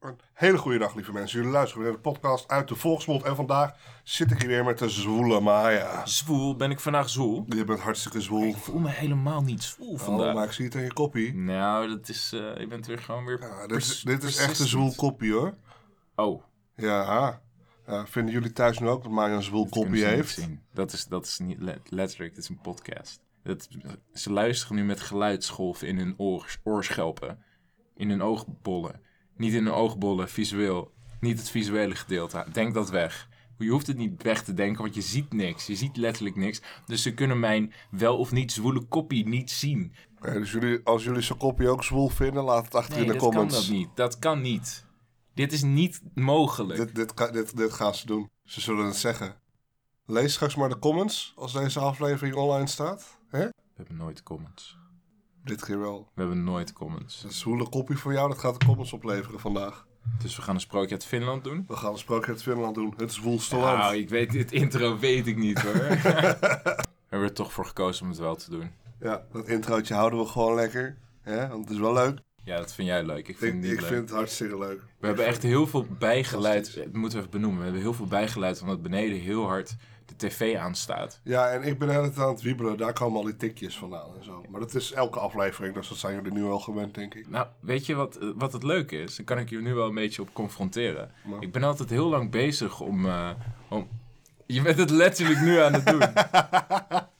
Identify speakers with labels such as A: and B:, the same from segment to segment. A: Een hele goede dag, lieve mensen. Jullie luisteren weer naar de podcast uit de Volksmond. En vandaag zit ik hier weer met de zwoele Maya.
B: Zwoel, ben ik vandaag zwoel?
A: Je bent hartstikke zwoel.
B: Ik voel me helemaal niet zwoel vandaag.
A: Oh, maar ik zie het in je koppie.
B: Nou, dat is, eh, je bent weer gewoon weer...
A: Ja, dit, is,
B: pers-
A: dit is echt een
B: persistent.
A: zwoel koppie, hoor.
B: Oh.
A: Ja. ja. Vinden jullie thuis nu ook dat Maya een zwoel koppie
B: kunnen ze niet
A: heeft?
B: zien. Dat is, dat is niet le- letterlijk, het is een podcast. Dat, ze luisteren nu met geluidsgolven in hun oor, oorschelpen. In hun oogbollen. Niet in hun oogbollen, visueel. Niet het visuele gedeelte. Denk dat weg. Je hoeft het niet weg te denken, want je ziet niks. Je ziet letterlijk niks. Dus ze kunnen mijn wel of niet zwoele kopie niet zien.
A: Oké, dus jullie, als jullie zijn koppie ook zwoel vinden, laat het achter
B: Nee,
A: in de
B: dat
A: comments.
B: kan dat niet. Dat kan niet. Dit is niet mogelijk.
A: Dit, dit, ka- dit, dit gaan ze doen. Ze zullen het zeggen. Lees straks maar de comments als deze aflevering online staat. Hè?
B: We hebben nooit comments.
A: Dit keer wel.
B: We hebben nooit comments.
A: De zwoele koppie voor jou, dat gaat de comments opleveren vandaag.
B: Dus we gaan een sprookje uit Finland doen.
A: We gaan een sprookje uit Finland doen. Het zwoelste land.
B: Nou, ik weet dit intro weet ik niet hoor. we hebben er toch voor gekozen om het wel te doen.
A: Ja, dat introotje houden we gewoon lekker. Hè? Want het is wel leuk.
B: Ja, dat vind jij leuk. Ik vind
A: Ik,
B: het niet
A: ik
B: leuk.
A: vind het hartstikke leuk.
B: We hebben echt heel veel bijgeluid. Dat moeten we even benoemen. We hebben heel veel bijgeluid omdat beneden heel hard de tv aanstaat.
A: Ja, en ik ben altijd aan het wiebelen. Daar komen al die tikjes vandaan en zo. Maar dat is elke aflevering, dus dat zijn jullie nu wel gewend, denk ik.
B: Nou, weet je wat, eh, wat het leuke is? Daar kan ik je nu wel een beetje op confronteren. Ik ben altijd heel lang bezig om, eh, om... Je bent het letterlijk nu aan het doen.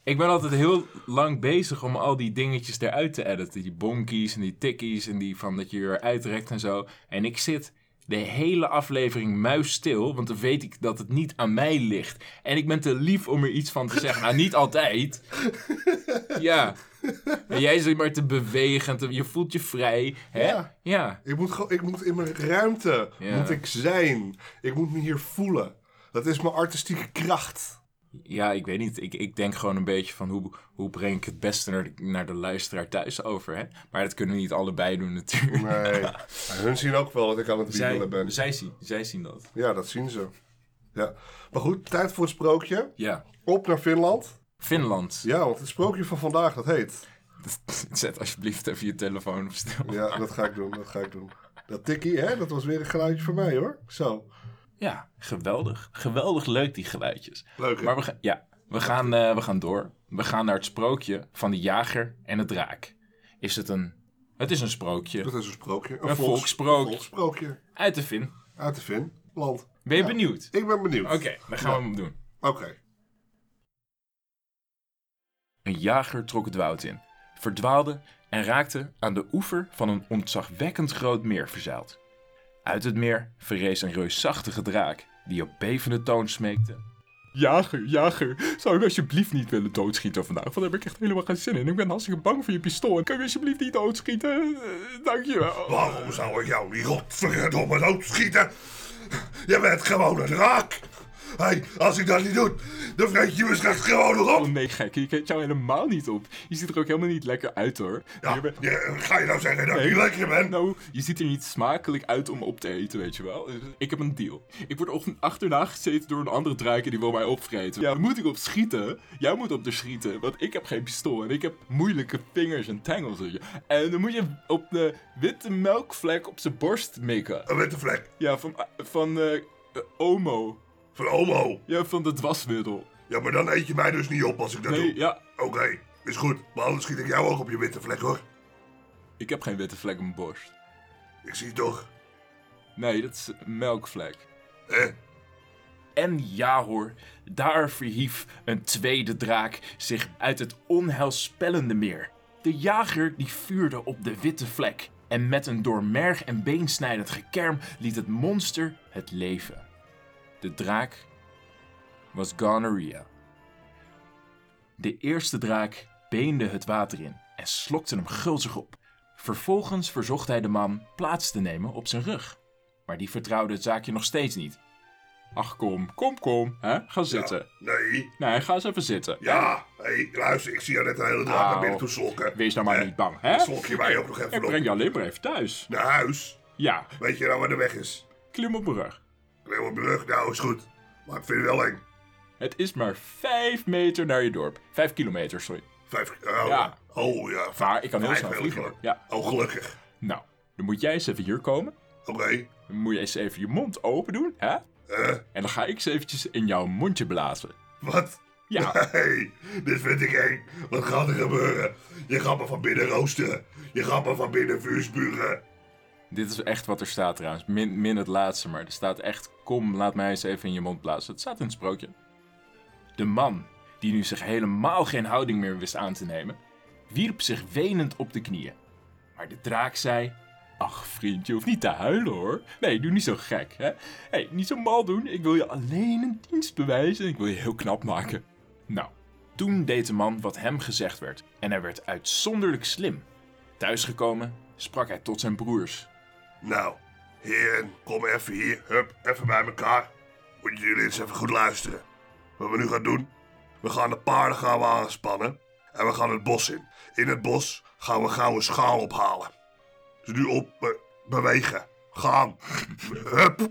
B: ik ben altijd heel lang bezig om al die dingetjes eruit te editen. Die bonkies en die tikkies en die van dat je eruit rekt en zo. En ik zit de hele aflevering muisstil, want dan weet ik dat het niet aan mij ligt. En ik ben te lief om er iets van te zeggen. Nou, niet altijd. Ja. En jij zit maar te bewegen. en te- je voelt je vrij. Hè?
A: Ja.
B: ja.
A: Ik moet, gewoon- ik moet in mijn ruimte
B: Ja.
A: moet ik zijn. Ik moet me hier voelen. Dat is mijn artistieke kracht.
B: Ja, ik weet niet. Ik, ik denk gewoon een beetje van hoe, hoe breng ik het beste naar de, naar de luisteraar thuis over. Hè? Maar dat kunnen we niet allebei doen natuurlijk.
A: Nee. En hun zien ook wel dat ik aan het wiebelen ben.
B: zij, zien, zij zien dat.
A: Ja, dat zien ze. Ja. Maar goed, tijd voor het sprookje.
B: Ja.
A: Op naar Finland.
B: Finland.
A: Ja, want het sprookje van vandaag, dat heet.
B: Zet alsjeblieft even je telefoon op stil.
A: Ja, dat ga ik doen, dat ga ik doen. Dat tikkie, hè, dat was weer een geluidje voor mij hoor. Zo.
B: Ja, geweldig. Geweldig leuk die geluidjes.
A: Leuk, hè?
B: Maar we, gaan- ja, we, gaan, eh, we gaan door. We gaan naar het sprookje van de jager en de draak. Is het een... Het is een sprookje.
A: Dat is een sprookje.
B: Een
A: volks-
B: volkssprookje.
A: een volkssprookje.
B: Uit de Fin.
A: Uit de Finland.
B: Ben je benieuwd?
A: Ik ben benieuwd.
B: Oké, dan gaan we hem doen.
A: Oké.
B: Een jager trok het woud in, verdwaalde en raakte aan de oever van een ontzagwekkend groot meer verzeild. Uit het meer verrees een reusachtige draak die op bevende toon smeekte. Jager, jager, zou je alsjeblieft niet willen doodschieten vandaag? Want daar heb ik echt helemaal geen zin in. Ik ben hartstikke bang voor je pistool. Kun je alsjeblieft niet doodschieten? Dankjewel.
A: Waarom zou ik jou niet godverdomme doodschieten? Je bent gewoon een raak. Hé, als ik dat niet doe, dan vreet je me straks gewoon nog op.
B: Oh, nee, gek, je kijkt jou helemaal niet op. Je ziet er ook helemaal niet lekker uit hoor.
A: Ja, je- ga je nou zeggen dat ik niet lekker ben?
B: Nou, je ziet er niet smakelijk uit om op te eten, weet je wel. Dus Ik heb een deal. Ik word ochtend achterna gezeten door een andere draak en die wil mij opvreten. Ja, moet ik op schieten? Jij moet op de schieten, want ik heb geen pistool en ik heb moeilijke vingers en tangels. weet je. En dan moet je op de witte melkvlek op zijn borst mikken.
A: Een witte vlek
B: Ja, van, van eh, eh, Omo.
A: van homo.
B: Ja, van de dwasmiddel.
A: Ja, maar dan eet je mij dus niet op als ik dat
B: Nee,
A: doe.
B: ja,
A: Oké, is goed. Maar anders schiet ik jou ook op je witte vlek hoor.
B: ik heb geen witte vlek op mijn borst.
A: Ik zie het toch.
B: Nee, dat is een melkvlek.
A: Hè?
B: En ja hoor, daar verhief een tweede draak zich uit het onheilspellende meer. De jager die vuurde op de witte vlek. En met een door merg en been snijdend gekerm liet het monster het leven. De draak was gonorrhea. De eerste draak beende het water in en slokte hem gulzig op. Vervolgens verzocht hij de man plaats te nemen op zijn rug. Maar die vertrouwde het zaakje nog steeds niet. Ach kom, kom, kom. Hè? Ga zitten.
A: Nee.
B: Nee, ga eens even zitten.
A: Ja. Hé, luister, ik zie jou net een hele dag naar
B: Nou,
A: binnen toe slokken.
B: Wees nou maar niet bang, hè?
A: Slok je mij ook nog
B: Ik
A: even op.
B: breng je alleen maar even thuis.
A: Naar huis.
B: Ja,
A: Weet je nou waar de weg is?
B: klim op mijn rug.
A: Ik ben op mijn rug. Nou, is goed. Maar ik vind het wel eng.
B: Het is maar vijf meter naar je dorp. Vijf kilometer, sorry.
A: Vijf. Oh ja.
B: Ja.
A: Oh ja.
B: Vaar, ik kan heel
A: Vijf
B: snel
A: wel,
B: vliegen.
A: hoor.
B: Ja.
A: Oh, gelukkig.
B: Nou, dan moet jij eens even hier komen.
A: Oké.
B: Dan moet je eens even je mond open doen, hè?
A: Eh?
B: En dan ga ik eens eventjes in jouw mondje blazen.
A: Wat?
B: Ja,
A: Hey, dit vind ik eng. Wat gaat er gebeuren? Je gaat me van binnen roosteren. Je gaat me van binnen vuurspuren.
B: dit is echt wat er staat trouwens. Min, min het laatste, maar er staat echt... Kom, laat mij eens even in je mond blazen. Het staat in het sprookje. De man, die nu zich helemaal geen houding meer wist aan te nemen... wierp zich wenend op de knieën. Maar de draak zei... Ach, vriend, je hoeft niet te huilen, hoor. Nee, doe niet zo gek, hè. hey, niet zo mal doen. Ik wil je alleen een dienst bewijzen en ik wil je heel knap maken. Nou, toen deed de man wat hem gezegd werd. En hij werd uitzonderlijk slim. Thuisgekomen sprak hij tot zijn broers.
A: Nou, heren, kom even hier. Hup, even bij elkaar. Moeten jullie eens even goed luisteren. Wat we nu gaan doen? We gaan de paarden gaan we aanspannen. En we gaan het bos in. In het bos gaan we gauw een schaal ophalen. Dus nu op, be- bewegen. Gaan. Hup.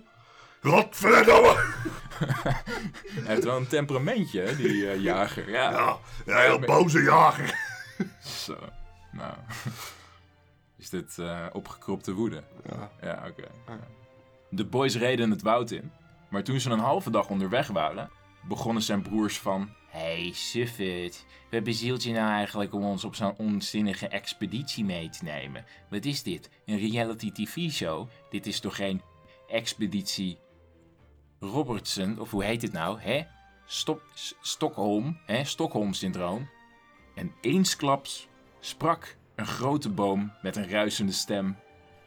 A: Rotverdomme.
B: Hij heeft wel een temperamentje, hè, die eh, jager. Ja.
A: Ja, ja, heel boze jager.
B: Zo. Nou. Is dit eh, opgekropte woede? Ja. Ja, oké. Ja. De boys reden het woud in. Maar toen ze een halve dag onderweg waren, begonnen zijn broers van... hey, suffert. Wat bezielt je nou eigenlijk om ons op zo'n onzinnige expeditie mee te nemen? Wat is dit? Een reality tv-show? Dit is toch geen expeditie... Robertson, of hoe heet het nou, hè? Stop, S- Stockholm, hè? Stockholm-syndroom. En eensklaps sprak een grote boom met een ruisende stem.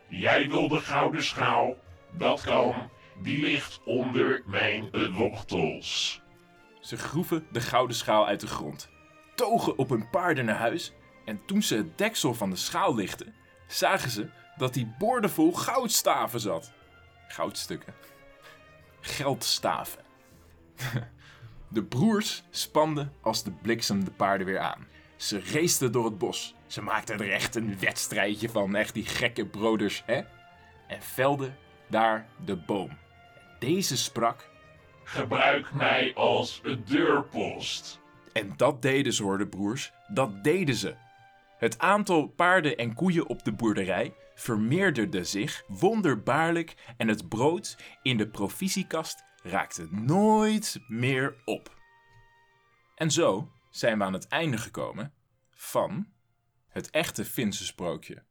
C: Jij wil de gouden schaal? Dat kan. Die ligt onder mijn wortels.
B: Ze groeven de gouden schaal uit de grond, togen op hun paarden naar huis en toen ze het deksel van de schaal lichten, zagen ze dat die boordevol goudstaven zat. Goudstukken. Geldstaven. De broers spanden als de bliksem de paarden weer aan. Ze raceten door het bos. Ze maakten er echt een wedstrijdje van, echt die gekke broders, hè? En velden daar de boom. Deze sprak
C: Gebruik mij als een deurpost.
B: En dat deden ze hoor, de broers. Dat deden ze. Het aantal paarden en koeien op de boerderij vermeerderde zich wonderbaarlijk en het brood in de provisiekast raakte nooit meer op. En zo zijn we aan het einde gekomen van het echte Finse sprookje.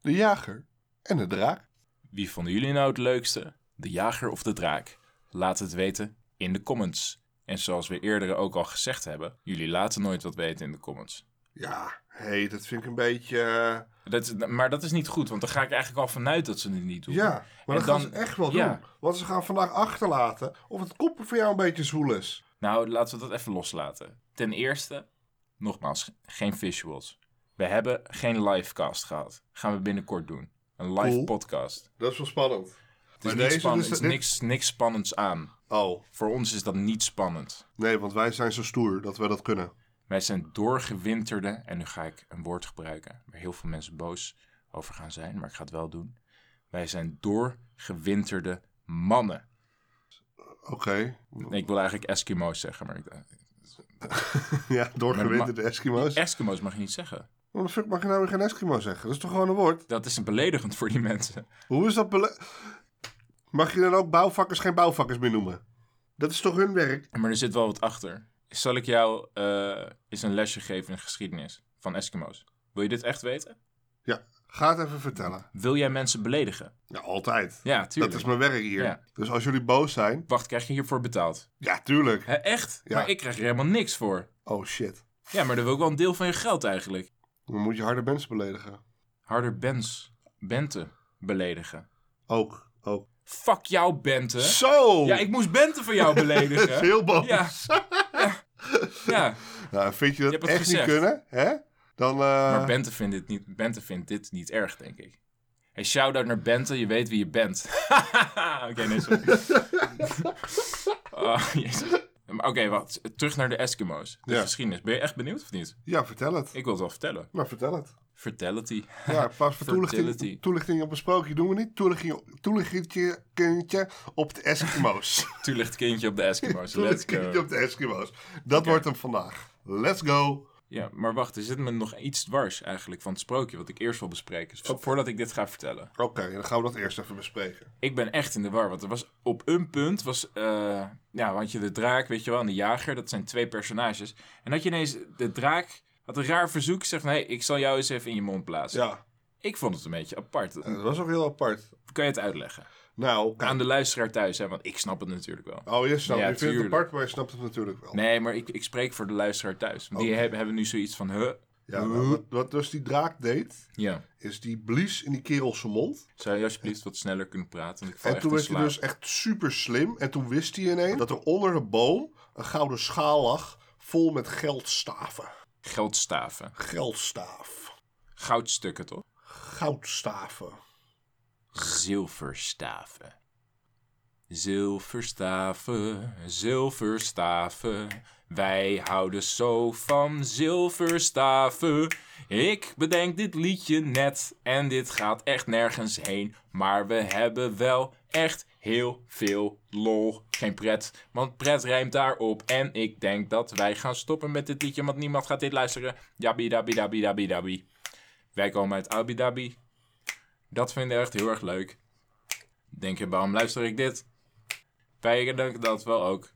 D: De jager en de draak.
B: Wie vonden jullie nou het leukste? De jager of de draak? Laat het weten in de comments. En zoals we eerder ook al gezegd hebben, jullie laten nooit wat weten in de comments.
D: Ja, hé, hey, dat vind ik een beetje... eh,
B: Dat, is- maar dat is niet goed, want dan ga ik eigenlijk al vanuit dat ze het niet doen.
D: ja, maar
B: En
D: dat gaan ze
B: dan-
D: echt wel
B: ja.
D: doen. Want ze gaan vandaag achterlaten of het koppen voor jou een beetje zwoel is.
B: Nou, laten we dat even loslaten. Ten eerste, nogmaals, ge- geen visuals. We hebben geen livecast gehad. Gaan we binnenkort doen. Een live
D: Cool.
B: podcast.
D: Dat is wel spannend.
B: Het is,
D: Maar
B: niet
D: deze
B: spannend,
D: dus-
B: er
D: dit-
B: is niks, niks spannends aan.
D: Oh,
B: Voor ons is dat niet spannend.
D: nee, want wij zijn zo stoer dat we dat kunnen.
B: Wij zijn doorgewinterde, en nu ga ik een woord gebruiken waar heel veel mensen boos over gaan zijn, maar ik ga het wel doen. Wij zijn doorgewinterde mannen.
D: Oké.
B: Nee, ik wil eigenlijk Eskimo's zeggen, maar ik,
D: ja,
B: Maar-
D: doorgewinterde Eskimo's.
B: Eskimo's mag je niet zeggen.
D: Waarom de fuck mag je nou weer geen Eskimo zeggen? Dat is toch gewoon een woord?
B: Dat is beledigend voor die mensen.
D: Hoe is dat bele... Mag je dan ook bouwvakkers geen bouwvakkers meer noemen? Dat is toch hun werk?
B: Maar er zit wel wat achter. Zal ik jou eh, eens een lesje geven in geschiedenis van Eskimo's? Wil je dit echt weten?
D: Ja, ga het even vertellen.
B: Wil jij mensen beledigen?
D: Ja, altijd.
B: Ja,
D: dat
B: tuurlijk.
D: is mijn werk hier.
B: Ja.
D: Dus als jullie boos zijn...
B: Wacht, krijg je hiervoor betaald?
D: Ja, tuurlijk.
B: Hè, echt?
D: Ja.
B: Maar ik krijg er helemaal niks voor.
D: Oh shit.
B: Ja, maar dan wil ik wel een deel van je geld eigenlijk.
D: Dan moet je harde mensen beledigen.
B: Harder Bens, Bente beledigen.
D: Ook. Ook.
B: Fuck jou, Bente.
D: Zo!
B: Ja, ik moest Bente van jou beledigen.
D: Heel boos.
B: Ja. Ja,
D: Nou, vind je dat
B: Je hebt het
D: echt
B: gezegd.
D: niet kunnen? Hè? Dan... eh,
B: Maar Bente vindt dit niet, Bente vindt dit niet erg, denk ik. Hey, shout-out naar Bente, je weet wie je bent. Oké, nee, sorry. oh, jezus. Maar Oké, wacht. Terug naar de Eskimo's. De
D: Ja.
B: geschiedenis. Ben je echt benieuwd of niet?
D: Ja, vertel het.
B: Ik wil het wel vertellen.
D: Nou, vertel het.
B: Fertility.
D: Ja, pas voor
B: Fertility.
D: toelichting, toelichting op een sprookje doen we niet. Toelichting, toelichting kindje op de Eskimo's.
B: Toelicht kindje op de Eskimo's. Let's
D: Toelichting
B: go.
D: kindje op de Eskimo's. Dat wordt hem vandaag. Let's go.
B: Ja, maar wacht, er zit me nog iets dwars eigenlijk van het sprookje wat ik eerst wil bespreken. Dus Voordat ik dit ga vertellen.
A: Oké, dan gaan we dat eerst even bespreken.
B: Ik ben echt in de war, want er was op een punt was, eh, ja, want je de draak, weet je wel, en de jager, dat zijn twee personages. En had je ineens, de draak had een raar verzoek, zegt, nee, ik zal jou eens even in je mond plaatsen.
A: Ja, Eh.
B: Ik vond het een beetje apart.
A: dat was ook heel apart.
B: Kan je het uitleggen?
A: Nou, kijk.
B: Aan de luisteraar thuis, hè, want ik snap het natuurlijk wel.
A: Oh, je snapt.
B: Ja,
A: je vindt het
B: tuurlijk.
A: apart, maar je snapt het natuurlijk wel.
B: Nee, maar ik, ik spreek voor de luisteraar thuis. Want
A: Oh.
B: die hebben, hebben nu zoiets van, huh?
A: Ja, maar wat, wat dus die draak deed,
B: Ja,
A: is die blies in die kerel zijn mond.
B: zou je alsjeblieft wat sneller kunnen praten? Want ik val
A: En
B: echt
A: toen
B: in
A: was hij
B: slaap.
A: dus echt super slim. En toen wist hij ineens dat er onder de boom een gouden schaal lag vol met geldstaven.
B: Geldstaven.
A: Geldstaaf.
B: Goudstukken, toch?
A: Goudstaven.
B: Zilverstaven. Zilverstaven, zilverstaven. Wij houden zo van zilverstaven. Ik bedenk dit liedje net en dit gaat echt nergens heen. Maar we hebben wel echt heel veel lol. Geen pret, want pret rijmt daarop. En ik denk dat wij gaan stoppen met dit liedje, want niemand gaat dit luisteren. Jabi dabi dabi dabi dabi. Wij komen uit Abu Dhabi. Dat vinden we echt heel erg leuk. Denk je, waarom luister ik dit? Wij denken dat wel ook.